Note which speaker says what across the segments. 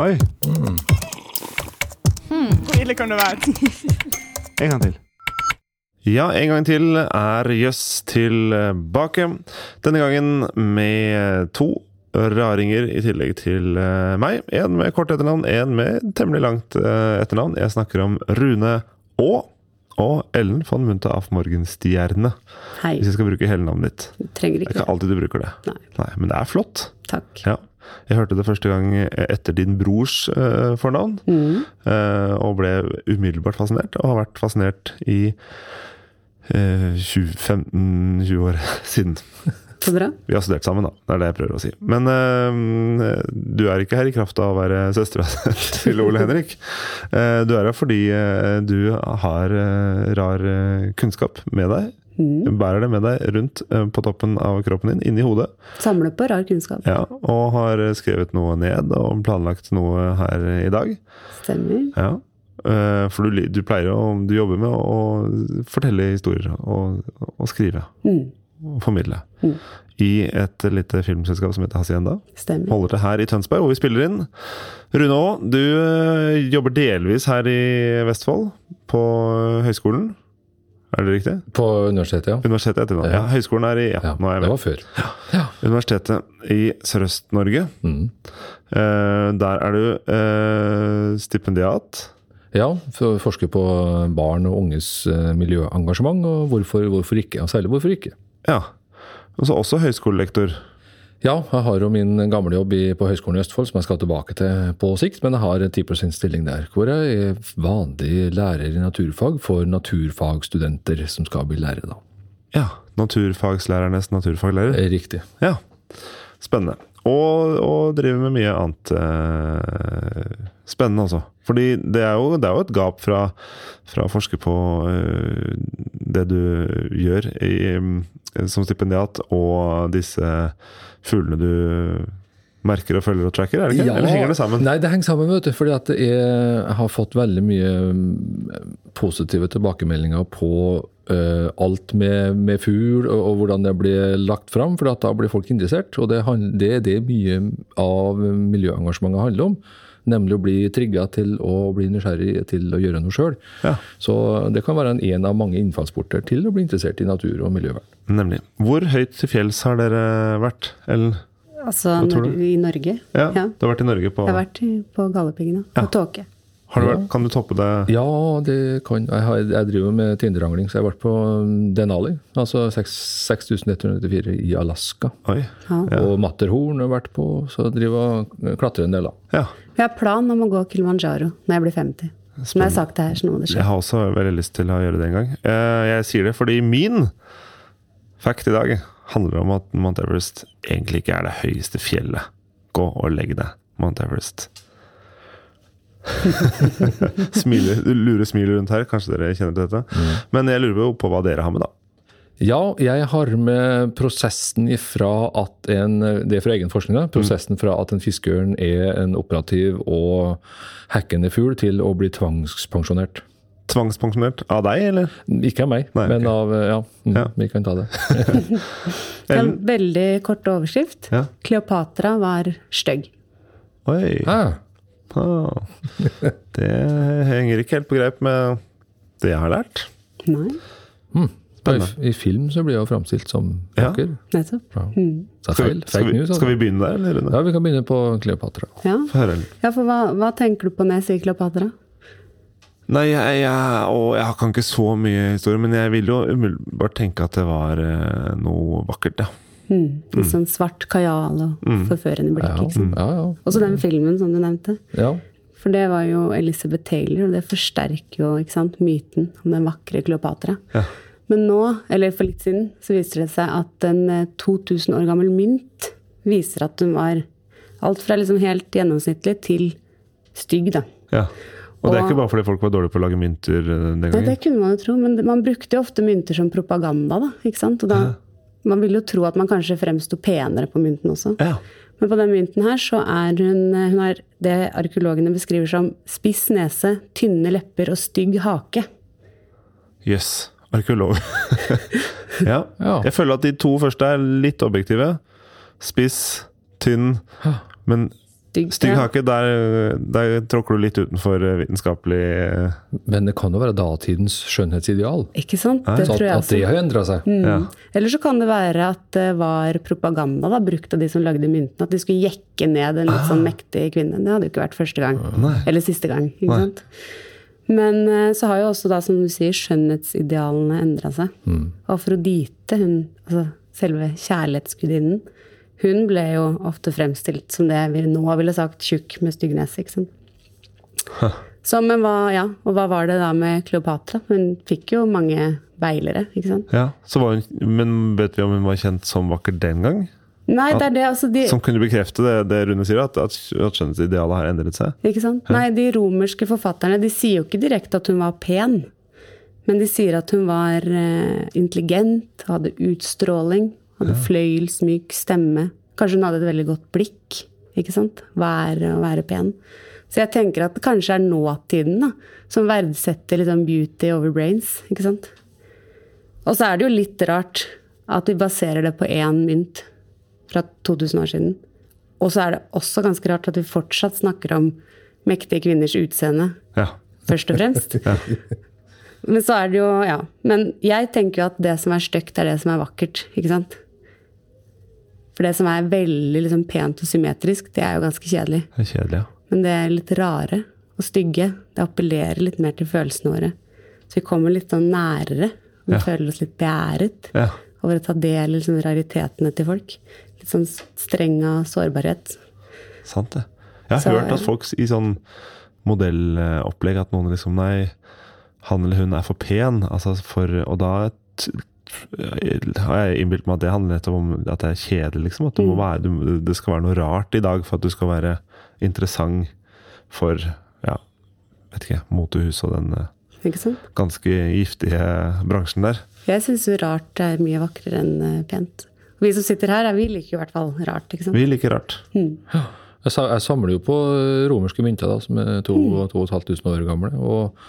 Speaker 1: Oi,
Speaker 2: Hvor ille kan det være?
Speaker 1: en gang til.
Speaker 3: Ja, en gang til er Jøss tilbake. Denne gangen med to raringer i tillegg til eh, meg. En med kort etternavn, en med temmelig langt eh, etternavn. Jeg snakker om Rune Aa og Ellen von Munthe af Morgenstierne.
Speaker 4: Hei.
Speaker 3: Hvis jeg skal bruke hele navnet ditt.
Speaker 4: Trenger
Speaker 3: Det er
Speaker 4: ikke
Speaker 3: ikke
Speaker 4: det.
Speaker 3: alltid du bruker det.
Speaker 4: Nei.
Speaker 3: Men det er flott.
Speaker 4: Takk.
Speaker 3: Ja. Jeg hørte det første gang etter din brors eh, fornavn,
Speaker 4: Mm.
Speaker 3: eh, og ble umiddelbart fascinert, og har vært fascinert i eh, 15-20 år siden.
Speaker 4: Så bra.
Speaker 3: Vi har studert sammen, da. Det er det jeg prøver å si. Men eh, du er ikke her i kraft av å være søstera til Ole Henrik. Eh, du er her fordi eh, du har eh, rar eh, kunnskap med deg. Bærer det med deg rundt eh, på toppen av kroppen din, inni hodet.
Speaker 4: Samle på rar kunnskap.
Speaker 3: Ja, og har skrevet noe ned og planlagt noe her i dag.
Speaker 4: Stemmer.
Speaker 3: Ja. Eh, For du, li- du pleier å Du jobber med å fortelle historier og, og skrive.
Speaker 4: Mm.
Speaker 3: Og formidle.
Speaker 4: Mm.
Speaker 3: I et lite filmselskap som heter Hacienda.
Speaker 4: Stemmer.
Speaker 3: Holder til her i Tønsberg, hvor vi spiller inn. Rune Aa, du eh, jobber delvis her i Vestfold, på eh, høyskolen. Er det riktig?
Speaker 5: På universitetet, ja.
Speaker 3: Universitetet heter det nå. Ja, høyskolen er i ja,
Speaker 5: ja
Speaker 3: nå er jeg
Speaker 5: det
Speaker 3: med.
Speaker 5: var før.
Speaker 3: Universitetet i Sørøst-Norge.
Speaker 5: Mm.
Speaker 3: Eh, der er du eh, stipendiat.
Speaker 5: Ja, for å forske på barn og unges eh, miljøengasjement, og hvorfor, hvorfor ikke? Og særlig hvorfor ikke?
Speaker 3: Ja. Og så også høyskolelektor.
Speaker 5: Ja, jeg har jo min gamle jobb i, på Høgskolen i Østfold, som jeg skal tilbake til på sikt, men jeg har en 10 stilling der, hvor jeg er vanlig lærer i naturfag for naturfagstudenter som skal bli lærere, da.
Speaker 3: Ja. Naturfagslærernes naturfaglærer.
Speaker 5: Eh, Riktig.
Speaker 3: Ja. Spennende. Og, og driver med mye annet eh, spennende, altså. Fordi det er jo, det er jo et gap fra, fra å forske på eh, det du gjør i, eh, som stipendiat, og disse fuglene du merker og følger og tracker, er det ikke?
Speaker 5: Ja.
Speaker 3: Eller henger det sammen?
Speaker 5: Nei, det henger sammen, vet du. Fordi at det er, jeg har fått veldig mye mm, positive tilbakemeldinger på eh, alt med, med fugl, og, og hvordan det blir lagt fram. For at da blir folk interessert. Og det han- det er det, mye av miljøengasjementet handler om. Nemlig å bli trigga til å bli nysgjerrig til å gjøre noe sjøl.
Speaker 3: Ja.
Speaker 5: Så det kan være en, en av mange innfallsporter til å bli interessert i natur og miljøvern.
Speaker 3: Nemlig. Hvor høyt til fjells har dere vært? Ellen?
Speaker 4: Altså
Speaker 3: tror
Speaker 4: når,
Speaker 3: du?
Speaker 4: i Norge.
Speaker 3: Ja,
Speaker 4: Ja.
Speaker 3: Du har vært i Norge på
Speaker 4: Jeg har vært i- på Galdhøpiggen, da. På tåke.
Speaker 3: har du vært, Kan du toppe det?
Speaker 5: Ja, det kan jeg. Har, jeg driver med Tinder-angling, så jeg har vært på um, Denali. Altså seks- 6194 i Alaska.
Speaker 3: Oi.
Speaker 5: Og Matterhorn har jeg vært på, så jeg driver og klatrer en del, da.
Speaker 3: Ja.
Speaker 4: Jeg har plan om å gå Kilimanjaro når jeg blir 50. Som jeg har sagt det her, så nå må det skje.
Speaker 3: Jeg har også veldig lyst til å gjøre det en gang. Eh, Jeg sier det fordi min fact i dag handler om at Mount Everest egentlig ikke er det høyeste fjellet. Gå og legg deg, Mount Everest. Smiler, lure smil rundt her. Kanskje dere kjenner til dette. Men jeg lurer jo på hva dere har med, da.
Speaker 5: Ja, jeg har med prosessen ifra at en Det er fra egen forskning,
Speaker 3: Mm.
Speaker 5: da. Prosessen fra at en fiskeørn er en operativ og hekkende fugl, til å bli tvangspensjonert.
Speaker 3: Tvangspensjonert av deg, eller?
Speaker 5: Ikke av meg,
Speaker 3: Nei, ok.
Speaker 5: men av Ja, mm,
Speaker 3: Ja.
Speaker 5: vi kan ta det.
Speaker 4: En
Speaker 3: Ellen?
Speaker 4: veldig kort overskrift.
Speaker 3: Ja.
Speaker 4: Kleopatra var stygg.
Speaker 3: Oi.
Speaker 5: Ah,
Speaker 3: Ah. Det henger ikke helt på greip med det jeg har lært.
Speaker 4: Nei,
Speaker 5: da i, I film så blir jeg jo framstilt som
Speaker 3: Ja.
Speaker 5: vakker.
Speaker 4: nettopp.
Speaker 5: Ja. Så det er
Speaker 3: Skal vi,
Speaker 5: feil.
Speaker 3: skal vi,
Speaker 5: Fake news. altså.
Speaker 3: skal vi begynne der, eller? Rune?
Speaker 5: Ja, vi kan begynne på Kleopatra.
Speaker 4: Ja,
Speaker 3: Få høre, Ellen.
Speaker 4: ja for hva, hva tenker du på når jeg sier Kleopatra?
Speaker 3: Nei, jeg, jeg, og jeg kan ikke så mye historie, men jeg ville jo umiddelbart tenke at det var eh, noe vakkert, ja.
Speaker 4: Mm. Litt sånn svart kajal og
Speaker 3: Mm.
Speaker 4: forførende blikk.
Speaker 5: Ja,
Speaker 4: ikke
Speaker 3: Hmm.
Speaker 4: sant?
Speaker 5: ja, ja.
Speaker 4: Også den filmen som du nevnte.
Speaker 5: ja.
Speaker 4: For det var jo Elizabeth Taylor, og det forsterker jo ikke sant, myten om den vakre Kleopatra. Men nå, eller for litt siden, så viser det seg at en eh, 2000 år gammel mynt viser at hun var alt fra liksom helt gjennomsnittlig til stygg, da.
Speaker 3: ja. Og det er
Speaker 4: Og-
Speaker 3: ikke bare fordi folk var dårlige på å lage mynter eh, den
Speaker 4: Nei, det
Speaker 3: gangen.
Speaker 4: kunne man jo tro, men det- man brukte jo ofte mynter som propaganda, da. ikke sant? Og da, man ville jo tro at man kanskje fremsto penere på mynten også.
Speaker 3: Ja.
Speaker 4: Men på den mynten her så er hun eh, Hun har det arkeologene beskriver som spiss nese, tynne lepper og stygg hake.
Speaker 3: Jøss. Yes. Arkeolog. ja.
Speaker 5: Ja.
Speaker 3: Jeg føler at de to første er litt objektive. Spiss, tynn, men
Speaker 4: stygg
Speaker 3: Stygg hake, der, der tråkker du litt utenfor vitenskapelig eh,
Speaker 5: Men det kan jo være datidens skjønnhetsideal.
Speaker 4: Ikke sant? Det
Speaker 5: Så at,
Speaker 4: tror jeg
Speaker 5: Sånn at det
Speaker 4: også.
Speaker 5: har endra seg.
Speaker 3: Ja.
Speaker 4: Mm. Eller så kan det være at det var propaganda da, brukt av de som lagde myntene. At de skulle jekke ned en litt sånn mektig kvinne. Det hadde jo ikke vært første gang. Eller siste gang. ikke sant? Men eh, så har jo også, da, som du sier, skjønnhetsidealene endra seg. Og Afrodite, hun, altså selve kjærlighetsgudinnen, hun ble jo ofte fremstilt som det vi nå ville sagt tjukk med stygg nese. ikke sant? Så, men hva, ja, og hva var det da med Kleopatra? Hun fikk jo mange beilere, ikke sant?
Speaker 3: Ja, så var hun, Men vet vi om hun var kjent som vakker den gang?
Speaker 4: Nei, det er det. Altså, de,
Speaker 3: Som kunne bekrefte det, det Rune sier, at, at, at skjønnhetsidealet har endret seg?
Speaker 4: ikke sant? Nei, de romerske forfatterne de sier jo ikke direkte at hun var pen. Men de sier at hun var eh, intelligent, hadde utstråling, hadde fløyelsmyk stemme. Kanskje hun hadde et veldig godt blikk. ikke sant? Være å være pen. Så jeg tenker at det kanskje er nåtiden da, som verdsetter litt sånn beauty over brains. ikke sant? Og så er det jo litt rart at vi baserer det på én mynt fra 2000 år siden. Og så er det også ganske rart at vi fortsatt snakker om mektige kvinners utseende,
Speaker 3: Ja.
Speaker 4: først og fremst. Men så er det jo, ja. Men jeg tenker jo at det som er stygt, er det som er vakkert, ikke sant? For det som er veldig liksom, pent og symmetrisk, det er jo ganske kjedelig.
Speaker 3: Det er kjedelig, ja.
Speaker 4: Men det er litt rare og stygge. Det appellerer litt mer til følelsene våre. Så vi kommer litt sånn nærere. Vi føler oss litt beæret
Speaker 3: Ja.
Speaker 4: over å ta del i liksom, raritetene til folk. Litt sånn streng av sårbarhet.
Speaker 3: Sant det. Jeg har
Speaker 4: Så-
Speaker 3: hørt at folk i sånn modellopplegg at noen liksom Nei, han eller hun er for pen. Altså for, og da t- har jeg innbilt meg at det handler nettopp om at det er kjedelig, liksom. At du må være, du, det skal være noe rart i dag for at du skal være interessant for ja, vet ikke, motehuset og den eh,
Speaker 4: Ikke sant?
Speaker 3: ganske giftige bransjen der.
Speaker 4: Jeg syns jo rart er mye vakrere enn eh, pent. Og vi som sitter her, er- vi liker jo i hvert fall rart. ikke sant?
Speaker 3: Vi liker rart.
Speaker 5: Jeg, sa, jeg samler jo på eh, romerske mynter da, som er 2500 år gamle. Og,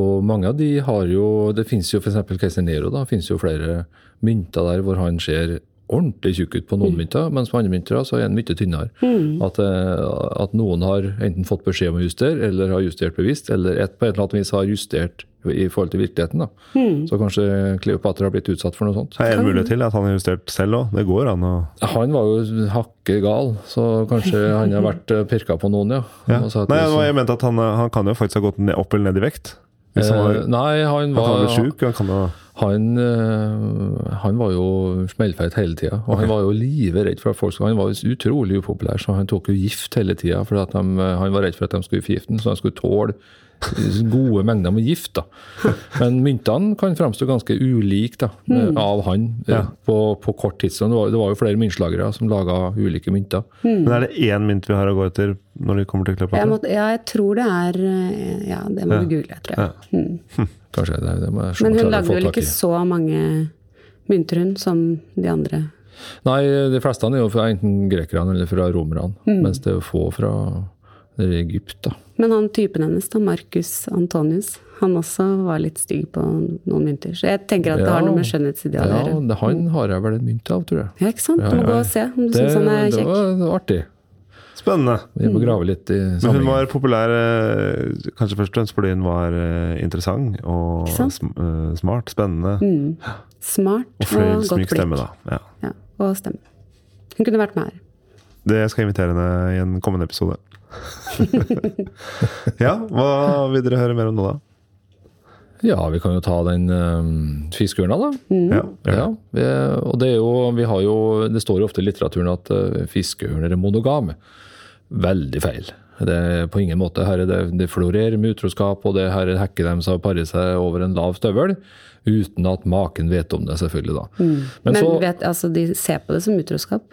Speaker 5: og mange av de har jo Det fins jo f.eks. keiser Nero. da, finnes jo flere mynter der hvor han ser ordentlig tjukk ut på noen mynter, mens på andre mynter da, så er han mye tynnere. At, eh, at noen har enten fått beskjed om å justere, eller har justert bevisst, eller et, på et eller annet vis har justert i forhold til virkeligheten. da. Så kanskje Kleopatra har blitt utsatt for noe sånt.
Speaker 3: Det er en mulighet til at han har justert selv òg. Det går an å
Speaker 5: Han var jo hakke gal, så kanskje han har vært eh, pirka på noen, ja.
Speaker 3: ja.
Speaker 5: Og så at
Speaker 3: Nei,
Speaker 5: det-
Speaker 3: det var- jeg mente at han, eh, han kan jo faktisk ha gått ned, opp eller ned i vekt. Hvis han var
Speaker 5: Eh, Nei, han
Speaker 3: Han kan
Speaker 5: var,
Speaker 3: bli sjuk, han kan jo
Speaker 5: han, eh, han var jo smellfeit hele tida. Og han var jo livredd for at folk skulle Han var jo utrolig upopulær, så han tok jo gift hele tida. For at de, eh, han var redd for at de skulle forgifte ham, så han skulle tåle gode mengder med gift. da. Men myntene kan framstå ganske ulike da, av han eh, på, på kort tidsrom. Det, var- det var jo flere myntslagere som laga ulike mynter.
Speaker 3: Men er det én mynt vi har å gå etter når det kommer til
Speaker 4: Hmm. Jeg
Speaker 3: Kleopatra?
Speaker 4: måtte, ja, jeg tror det er eh, Ja, det må du google, tror jeg.
Speaker 5: Kanskje det, det må jeg se om
Speaker 4: Men hun
Speaker 5: jeg klarer å
Speaker 4: lagde
Speaker 5: få
Speaker 4: vel
Speaker 5: tak i.
Speaker 4: ikke så mange mynter, hun, som de andre.
Speaker 5: Nei, de fleste er jo fra enten grekerne eller fra romerne.
Speaker 4: Mm.
Speaker 5: Mens det er få fra Egypt, da.
Speaker 4: Men han typen hennes, da, Marcus Antonius, han også var litt stygg på noen mynter. Så jeg tenker at det har noe med skjønnhetsidealet å
Speaker 5: Ja,
Speaker 4: gjøre.
Speaker 5: det, han har jeg vel en mynt av, tror jeg.
Speaker 4: Ja, ikke sant? Du må gå og se om du syns han er
Speaker 5: det,
Speaker 4: kjekk. Mm.
Speaker 5: var, det var artig.
Speaker 3: Spennende!
Speaker 5: Vi må grave litt i
Speaker 3: Men hun
Speaker 5: sammenhengen.
Speaker 3: var populær eh, kanskje først og fremst fordi hun var eh, interessant og
Speaker 4: Ikke sant?
Speaker 3: sm eh, smart, spennende.
Speaker 4: Smart
Speaker 3: Og
Speaker 4: og, godt
Speaker 3: fløyelsmyk
Speaker 4: blikk.
Speaker 3: stemme, da. Ja.
Speaker 4: Ja, og stemme. Hun kunne vært med her.
Speaker 3: Det jeg skal invitere henne i en kommende episode. ja, hva vil dere høre mer om nå, da?
Speaker 5: Ja, vi kan jo ta den um, fiskeørna, da.
Speaker 3: Ja,
Speaker 5: Ja, vi, og det er jo, vi har jo, det står jo ofte i litteraturen at eh, fiskeørner er monogame. Veldig feil. Det er på ingen måte. Her er det, det florerer med utroskap, og det her er hekker dem som parer seg over en lav støvel. Uten at maken vet om det, selvfølgelig. da.
Speaker 4: Mm. Men,
Speaker 5: så-
Speaker 4: vet, altså, de ser på det som utroskap?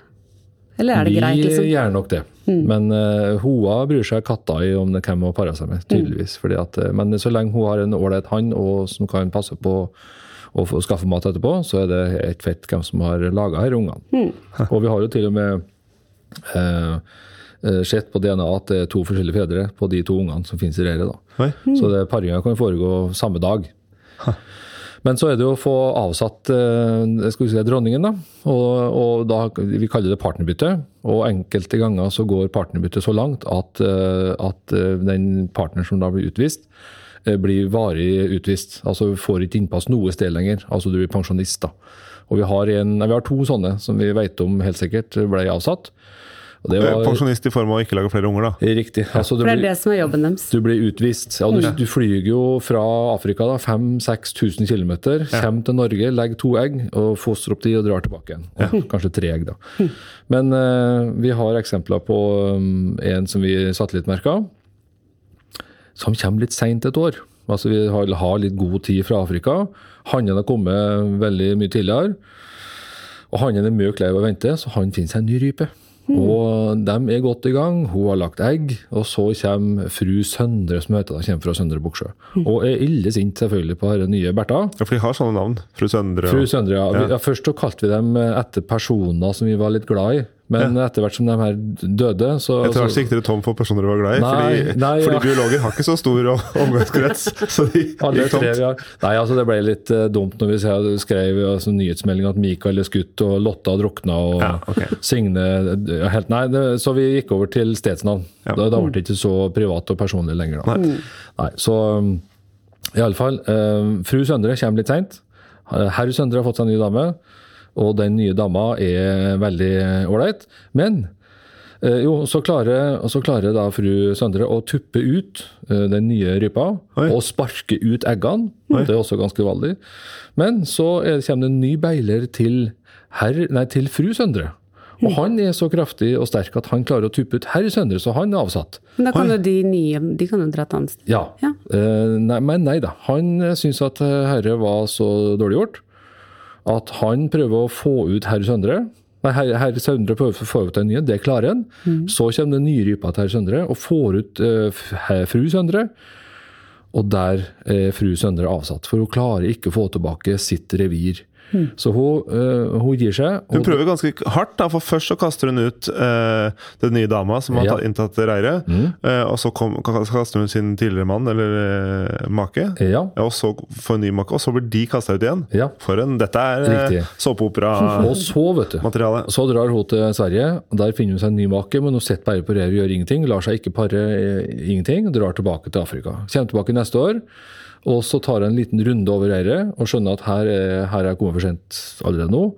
Speaker 4: Eller er det greit, liksom?
Speaker 5: Vi gjør nok det. Men eh, hoa bryr seg katta i om det hvem hun parer seg med, tydeligvis.
Speaker 4: Mm.
Speaker 5: Fordi at, eh, men så lenge hun har en ålreit hann og som kan passe på å få skaffe mat etterpå, så er det helt fett hvem som har laga disse ungene.
Speaker 4: Mm.
Speaker 5: Og vi har jo til og med eh, eh, sett på DNA at det er to forskjellige fedre på
Speaker 4: Mm.
Speaker 5: de to ungene som finnes i reiret. da.
Speaker 3: Oi.
Speaker 5: Så det paringa kan foregå samme dag. Men så er det jo å få avsatt eh, skal vi si, dronningen, da. Og, og da, vi kaller det partnerbytte. Og enkelte ganger så går partnerbyttet så langt at, eh, at eh, den partneren som da blir utvist, eh, blir varig utvist. Altså får ikke innpass noe sted lenger. Altså du blir pensjonist, da. Og vi har, en, nei, vi har to sånne som vi vet om helt sikkert ble avsatt. Og det
Speaker 3: Eh,
Speaker 5: var
Speaker 3: Pensjonist i form av å ikke lage flere unger, da.
Speaker 5: riktig. Altså, du
Speaker 4: For det er
Speaker 5: blir-
Speaker 4: det som er jobben deres.
Speaker 5: du blir utvist. Ja, du, du flyr jo fra Afrika da, 5000-6000 km, kommer til Norge, legger to egg, og fostrer opp de og drar tilbake igjen. Og Kanskje tre egg, da. Men eh, vi har eksempler på um, en som vi satellittmerka, som kommer litt seint et år. Altså Vi har, har litt god tid fra Afrika. Hannen har kommet veldig mye tidligere. Og hannen er mye lei av å vente, så han finner seg en ny rype. Og de er godt i gang. Hun har lagt egg. Og så kommer fru Søndre, som heter da, kommer fra Søndre Buksjø. Og er ille sint selvfølgelig på denne nye Bertha.
Speaker 3: Ja, For de har sånne navn. Fru Søndre.
Speaker 5: Fru
Speaker 3: og-
Speaker 5: Søndre, ja. Vi- ja. Først så kalte vi dem eh, etter personer som vi var litt glad i. Men etter hvert som de her døde, så
Speaker 3: Etter hvert
Speaker 5: så-
Speaker 3: så gikk dere tom for personer du var glad i.
Speaker 5: altså. Nei,
Speaker 3: fordi
Speaker 5: nei,
Speaker 3: fordi
Speaker 5: ja.
Speaker 3: biologer har ikke så stor o- omgangskrets. Så de
Speaker 5: Alle
Speaker 3: gikk
Speaker 5: tre
Speaker 3: tomt.
Speaker 5: vi har. Nei, altså det ble litt eh, dumt når vi ser, skrev i altså, nyhetsmelding at Mikael er skutt og Lotta drukna og
Speaker 3: Ja, ok.
Speaker 5: Signe ja, helt, Nei, det, så vi gikk over til stedsnavn.
Speaker 3: Ja.
Speaker 5: Da, da ble det ikke så privat og personlig lenger. Da. Nei. så um, i alle fall, eh, fru Søndre kommer litt seint. Herr Søndre har fått seg en ny dame, og den nye dama er veldig ålreit. Men Eh, jo, så klarer, og så klarer da fru Søndre å tuppe ut eh, den nye rypa
Speaker 3: Oi.
Speaker 5: og sparke ut eggene. Det er også ganske uvanlig. Men så er, kommer det en ny beiler til, herr, nei, til fru Søndre. Og han er så kraftig og sterk at han klarer å tuppe ut herr Søndre, så han er avsatt.
Speaker 4: Men da kan jo de nye de kan jo dra et annet sted.
Speaker 5: Ja.
Speaker 4: Ja.
Speaker 5: Eh, nei, men nei da. Han eh, syns at eh, herre var så dårlig gjort at han prøver å få ut herr Søndre. Nei, herr herr Søndre prøver å få ut den nye, det klarer han. Så kommer den nye rypa til herr Søndre og får ut eh, f- herr- fru Søndre. Og der er fru Søndre avsatt, for hun klarer ikke å få tilbake sitt revir. Så hun, eh, hun gir seg.
Speaker 3: Hun
Speaker 5: og-
Speaker 3: prøver ganske hardt, da, for først så kaster hun ut eh, den nye dama som har
Speaker 5: Ja. Mm.
Speaker 3: tatt- inntatt reiret. eh, og så kom, kaster hun sin tidligere mann, eller eh, make.
Speaker 5: ja,
Speaker 3: Ja, og så får hun ny make, og så blir de kasta ut igjen.
Speaker 5: ja.
Speaker 3: For en Dette er
Speaker 5: Riktig.
Speaker 3: eh, såpeopera-materiale.
Speaker 5: Og så, vet du, Så drar hun til Sverige, og der finner hun seg en ny make, men hun sitter bare på revet og gjør ingenting. Lar seg ikke pare, eh, ingenting, og drar tilbake til Afrika. Kommer tilbake neste år, og så tar hun en liten runde over reiret og skjønner at her er, her er jeg kommet for sent allerede nå,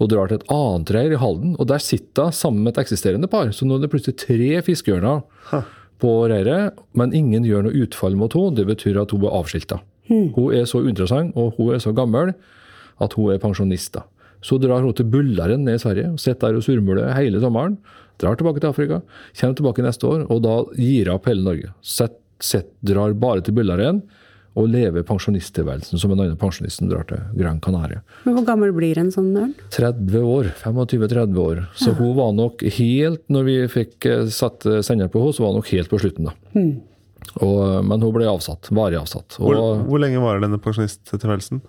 Speaker 5: og drar til et annet reir i Halden. Og der sitter hun sammen med et eksisterende par, så nå er det plutselig tre fiskeørner på reiret, men ingen gjør noe utfall mot henne. Det betyr at hun er avskilta. Hun er så uinteressant, og hun er så gammel at hun er pensjonist. da. Så drar hun til Bullaren ned i Sverige, og sitter der og surmuler hele sommeren. Drar tilbake til Afrika, kommer tilbake neste år, og da gir hun opp hele Norge. Sett, sett, drar bare til Bullaren og lever pensjonisttilværelsen som en annen pensjonist som drar til Gran Canaria.
Speaker 4: Men hvor gammel blir en sånn ørn?
Speaker 5: 30 år, 25-30 år. Så hun var nok helt, når vi fikk eh, satt eh, sender på henne, så var hun nok helt på slutten da. Og, eh, men hun ble avsatt, varig avsatt. Og,
Speaker 3: Hvor, hvor lenge varer denne pensjonisttilværelsen?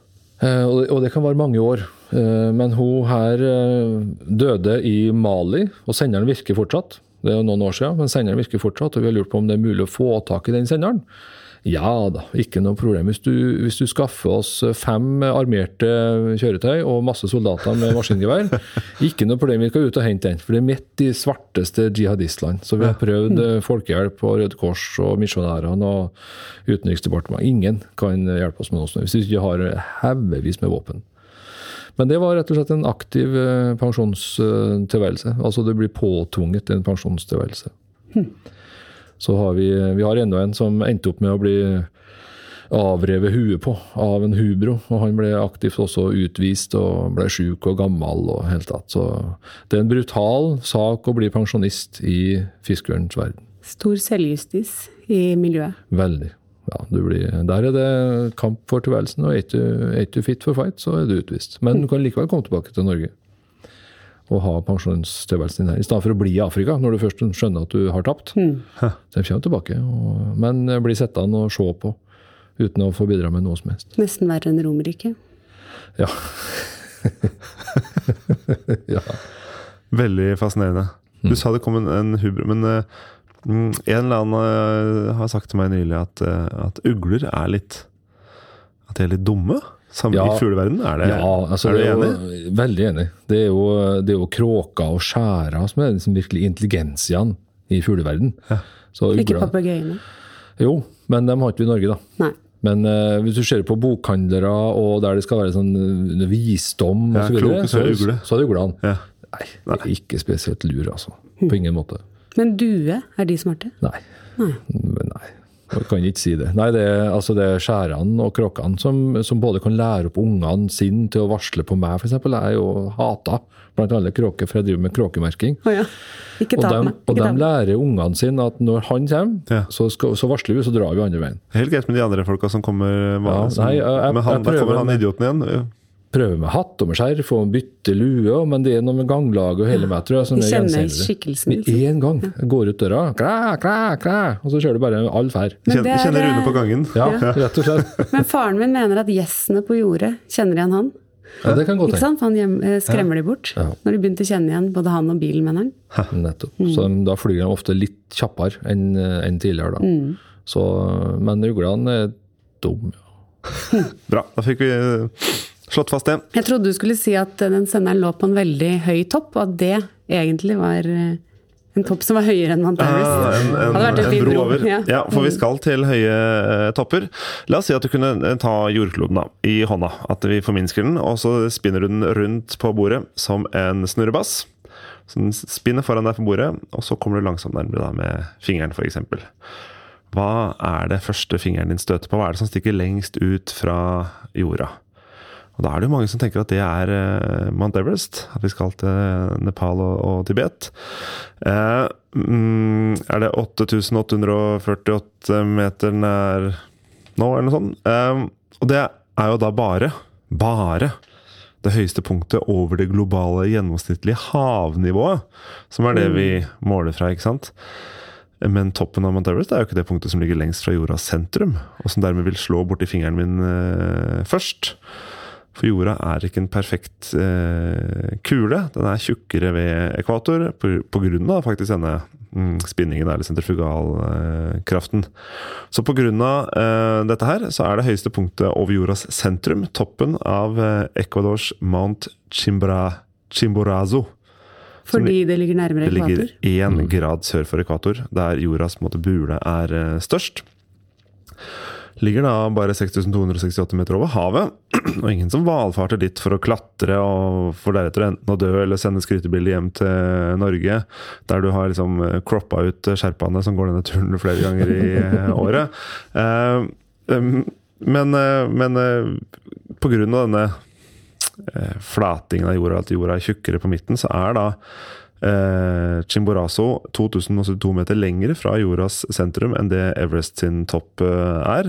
Speaker 5: Eh, Og det, og det kan være mange år. Eh, Men hun her eh, døde i Mali, og senderen virker fortsatt. Det er jo noen år siden, men senderen virker fortsatt, og vi har lurt på om det er mulig å få tak i den senderen. Ja da, ikke noe problem. Hvis du, hvis du skaffer oss fem armerte kjøretøy og masse soldater med maskingevær, ikke noe problem, vi skal ut og hente den. For det er midt i svarteste jihadistland. Så vi har prøvd eh, Folkehjelp og Røde Kors og misjonærene og Utenriksdepartementet. Ingen kan hjelpe oss med noe sånt hvis vi ikke har haugevis med våpen. Men det var rett og slett en aktiv eh, pensjonstilværelse. Altså det blir påtvunget en pensjonstilværelse. Så har vi, eh, vi har enda en som endte opp med å bli avrevet huet på av en hubro. Og han ble aktivt også utvist og ble sjuk og gammel og helt tatt. Så det er en brutal sak å bli pensjonist i fiskerens verden.
Speaker 4: Stor selvjustis i miljøet.
Speaker 5: Veldig. Ja, du blir, der er det kamp for tilværelsen, og er ikke du- er ikke du fit for fight, så er du utvist. Men du kan likevel komme tilbake til Norge og ha pensjonstilværelsen din her. I stedet for å bli i Afrika, når du først skjønner at du har tapt. Så de kommer tilbake, og, men blir sittende og se på uten å få bidra med noe som helst.
Speaker 4: Nesten verre enn Romerriket.
Speaker 5: Ja. ja.
Speaker 3: Veldig fascinerende.
Speaker 5: Mm.
Speaker 3: Du sa det kom en, en hubro, men eh, mm, en eller annen eh, har sagt til meg nylig at, eh, at ugler er litt At de er litt dumme. Samme
Speaker 5: Ja.
Speaker 3: I fugleverdenen? Er, det-
Speaker 5: Ja, altså,
Speaker 3: er du
Speaker 5: det er
Speaker 3: enig?
Speaker 5: Jo, veldig enig. Det er jo, det er jo kråker og skjærer som er liksom virkelig intelligensiaen i fugleverden. Så
Speaker 4: Ikke
Speaker 5: ugla
Speaker 4: papegøyene.
Speaker 5: Jo, men dem har ikke vi i Norge, da.
Speaker 4: Nei.
Speaker 5: Men eh, hvis du ser på bokhandlere og der det skal være sånn eh, visdom
Speaker 3: Ja,
Speaker 5: og så, videre,
Speaker 3: klok, så er det ugle.
Speaker 5: så er det uglene.
Speaker 3: Ja.
Speaker 5: Nei, det er ikke spesielt lur, altså. På ingen måte.
Speaker 4: Men due, er de smarte?
Speaker 5: Nei. Men nei. Jeg kan ikke si det. Nei, det er, altså det er skjærene og kråkene som, som både kan lære opp ungene sine til å varsle på meg, f.eks. Jeg er jo hata blant alle kråker, for jeg driver med kråkemerking.
Speaker 4: Å ja. Ikke
Speaker 5: Og
Speaker 4: ta
Speaker 5: de,
Speaker 4: meg.
Speaker 5: og
Speaker 4: Ikke
Speaker 5: de
Speaker 4: ta meg.
Speaker 5: lærer ungene sine at når han kommer,
Speaker 3: Ja.
Speaker 5: så, skal, så varsler vi, så drar vi andre veien.
Speaker 3: Helt greit med de andre folka som kommer. hva-
Speaker 5: Ja,
Speaker 3: som,
Speaker 5: nei, jeg- jeg-
Speaker 3: men han,
Speaker 5: jeg
Speaker 3: der kommer
Speaker 5: prøver,
Speaker 3: han
Speaker 5: men-
Speaker 3: idioten igjen.
Speaker 5: prøve med hatt og med skjerf og bytte lue, men det er noe med ganglaget og hele meg, tror jeg. Som
Speaker 4: Vi
Speaker 5: er
Speaker 4: kjenner
Speaker 5: gjensendelig.
Speaker 4: skikkelsen.
Speaker 5: Med
Speaker 4: Liksom.
Speaker 5: en gang går ut døra, klæ, klæ, klæ, og så kjører du bare all ferd.
Speaker 4: Men
Speaker 3: Kjenner,
Speaker 4: det er-
Speaker 3: kjenner Rune på gangen.
Speaker 5: Ja, rett og slett.
Speaker 4: Men faren min mener at gjessene på jordet kjenner igjen han.
Speaker 5: Ja, det kan godt
Speaker 4: Ikke
Speaker 5: hende.
Speaker 4: sant? For han hjem- eh, skremmer de bort.
Speaker 5: Ja.
Speaker 4: Når de begynte å kjenne igjen både han og bilen, mener han.
Speaker 5: Nettopp. Så de- da flyr de ofte litt kjappere enn eh, enn tidligere, da. Så, men uglene er dumme.
Speaker 3: Bra, da fikk vi eh, slått fast det.
Speaker 4: Jeg trodde du skulle si at eh, den senderen lå på en veldig høy topp, og at det egentlig var eh, en topp som var høyere enn Mount
Speaker 3: Ah,
Speaker 4: Everest.
Speaker 3: en, en,
Speaker 4: Hadde vært en
Speaker 3: en
Speaker 4: fin
Speaker 3: bro
Speaker 4: bro,
Speaker 3: over.
Speaker 4: ja. Mm.
Speaker 3: Ja, for vi skal til høye eh, topper. La oss si at du kunne eh, ta jordkloden da, i hånda. At vi forminsker den, og så spinner du den rundt på bordet som en snurrebass. Så den spinner foran deg på bordet, og så kommer du langsomt nærmere da, med fingeren f.eks. Hva er det første fingeren din støter på? Hva er det som stikker lengst ut fra jorda? Og da er det jo mange som tenker at det er eh, Mount Everest. At vi skal til Nepal og, og Tibet. Eh, mm, er det 8848 meter nær nå, eller noe sånt? Eh, og det er jo da bare, bare det høyeste punktet over det globale gjennomsnittlige havnivået. Som er det vi måler fra, ikke sant? Men toppen av Mount Everest er jo ikke det punktet som ligger lengst fra jordas sentrum, og som dermed vil slå borti fingeren min eh, først. For jorda er ikke en perfekt eh, kule. Den er tjukkere ved ekvator pga. faktisk denne mm, spinningen, eller sentrifugalkraften. Eh, kraften. så pga. Eh, dette her, så er det høyeste punktet over jordas sentrum, toppen av eh, Ecuadors Mount Chimbra, Chimborazo.
Speaker 4: Fordi det ligger nærmere
Speaker 3: Det ligger
Speaker 4: ekvator.
Speaker 3: én grad sør for ekvator, der jordas på en måte, bule er eh, størst. Ligger da bare 6268 meter over havet, og ingen som valfarter dit for å klatre og for deretter enten å dø eller sende skrytebilder hjem til Norge, der du har liksom eh, croppa ut eh, sherpaene som går denne turen flere ganger i eh, året. Eh, em, Men, eh, men eh, på grunn av denne eh, flatingen av jorda, at jorda er tjukkere på midten, så er da eh, Chimborazo 2072 meter lengre fra jordas sentrum enn det Everest sin topp eh, er.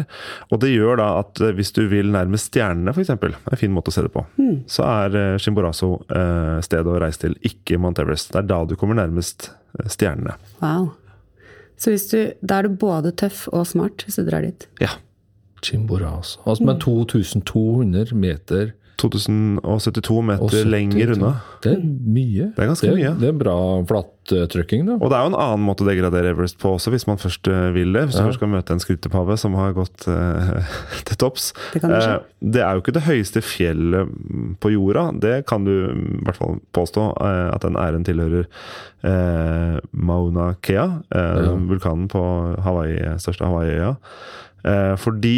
Speaker 3: Og det gjør da at eh, hvis du vil nærme stjernene, f.eks., en fin måte å se det på, så er eh, Chimborazo eh, stedet å reise til, ikke Mount Everest. Det er da du kommer nærmest eh, stjernene.
Speaker 4: Wow. Så hvis du, da er du både tøff og smart hvis du drar dit.
Speaker 3: Ja.
Speaker 5: Chimborazo. Altså, men 2200 meter
Speaker 3: 2072
Speaker 5: og
Speaker 3: meter
Speaker 5: 70
Speaker 3: lenger unna.
Speaker 5: Det er mye.
Speaker 3: Det er ganske mye.
Speaker 5: Det er bra flattrykking, da.
Speaker 3: Og det er jo en annen måte å degradere Everest på også, hvis man først eh, vil det. Hvis du først skal møte en skrytepave som har gått eh, til topps.
Speaker 4: Det kan jo skje.
Speaker 3: Eh, det er jo ikke det høyeste fjellet mm, på jorda. Det kan du mm, i hvert fall påstå eh, at den æren tilhører eh, Mauna Kea, eh, vulkanen på Hawaii, største Hawaii-øya. Eh, fordi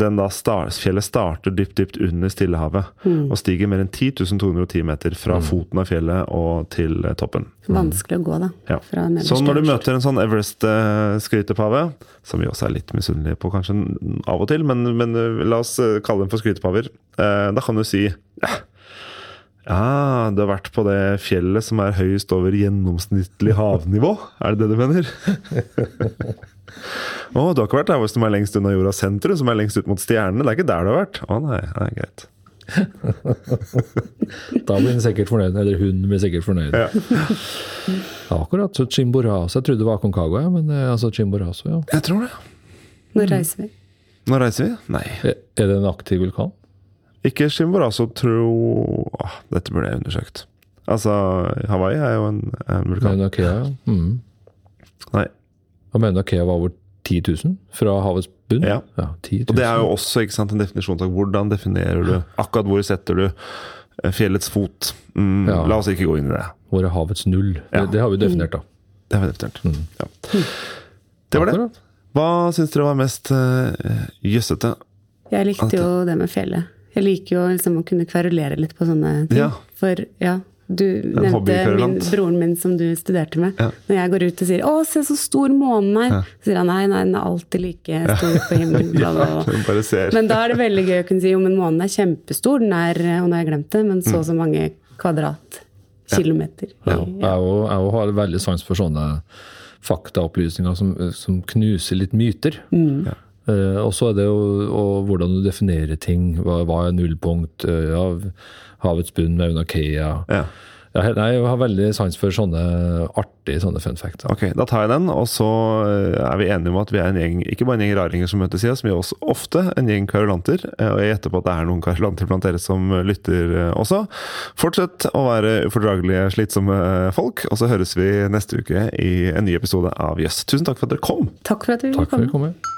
Speaker 3: den da star, fjellet starter dypt dypt under Stillehavet
Speaker 4: Mm.
Speaker 3: og stiger mer enn 10 210 meter fra foten av fjellet og til eh, toppen.
Speaker 5: Mm.
Speaker 4: Vanskelig å gå, da.
Speaker 3: Ja.
Speaker 4: Fra nederst
Speaker 3: Så når du
Speaker 4: til øverst.
Speaker 3: møter en sånn Everest-skrytepave, som vi også er litt misunnelige på kanskje n- av og til, men, men eh, la oss eh, kalle dem for skrytepaver, eh, da kan du si ja, ja, du har vært på det fjellet som er høyest over gjennomsnittlig havnivå. Er det det du mener? Å, du har ikke vært der hvor som er lengst unna jordas sentrum, som er lengst ut mot stjernene. Det er ikke der du har vært. Å nei, nei greit.
Speaker 5: Da blir den sikkert fornøyd. Eller hun blir sikkert fornøyd.
Speaker 3: Ja.
Speaker 5: Akkurat. Så Chimborazo. Jeg trodde det var Concagua, ja, men eh, altså Chimborazo, ja.
Speaker 3: Jeg tror det.
Speaker 5: Mm.
Speaker 4: Når reiser vi?
Speaker 3: Nå reiser vi? Nei.
Speaker 5: Er er det en aktiv vulkan?
Speaker 3: Ikke Chimborazo, tro Åh, Dette burde jeg undersøkt. Altså, Hawaii er jo en, en vulkan.
Speaker 5: Mauna Kea, ja. Mm.
Speaker 3: Nei.
Speaker 5: Og Mauna Kea var over 10 10 000 fra havets bunn?
Speaker 3: Ja.
Speaker 5: 10 000.
Speaker 3: Og det er jo også ikke sant, en definisjonssak. Hvordan definerer du Akkurat hvor setter du eh, fjellets fot? Mm,
Speaker 5: Ja.
Speaker 3: La oss ikke gå inn i det.
Speaker 5: Hvor er havets null?
Speaker 3: Ja.
Speaker 5: Det, det har vi definert, da.
Speaker 3: Det har vi definert. Ja. Det var det.
Speaker 5: Akkurat.
Speaker 3: Hva syns dere var mest eh, jøssete?
Speaker 4: Jeg likte jo det med fjellet. Jeg liker jo liksom å kunne kverulere litt på sånne ting.
Speaker 3: Ja.
Speaker 4: For ja, du nevnte min,
Speaker 3: hobbykverulant.
Speaker 4: broren min som du studerte med.
Speaker 3: Ja.
Speaker 4: Når jeg går ut og sier 'Å, se så stor månen er', så sier han nei, nei, den er alltid like stor på himmelen. Bla, bla, bla.
Speaker 3: Jeg bare ser.
Speaker 4: Men da er det veldig gøy å kunne si jo, men månen er kjempestor. Den er, og nå har jeg glemt det, men så og så mange kvadratkilometer.
Speaker 5: Mm. Ja. Jeg, og, jeg og har veldig sans for sånne faktaopplysninger som, som knuser litt myter.
Speaker 3: Ja.
Speaker 5: Eh, og så er det jo og hvordan du definerer ting. Hva, hva er nullpunkt? eh, ja, havets bunn, Mauna Kea.
Speaker 3: Ja.
Speaker 5: Ja, he- nei, jeg har veldig sans for sånne artige sånne fun facts. da.
Speaker 3: Ok, da tar jeg den, og så eh, er vi enige om at vi er en gjeng, ikke bare en gjeng raringer som møtes i oss, men også ofte en gjeng kverulanter. Eh, Og jeg gjetter på at det er noen kverulanter blant dere som eh, lytter eh, også. Fortsett å være ufordragelige, slitsomme eh, folk, og så høres vi neste uke i en ny episode av Jøss. Tusen takk for at dere kom!
Speaker 4: Takk for at vi
Speaker 5: Takk
Speaker 4: fikk
Speaker 5: for
Speaker 4: komme.
Speaker 5: at du kom. med.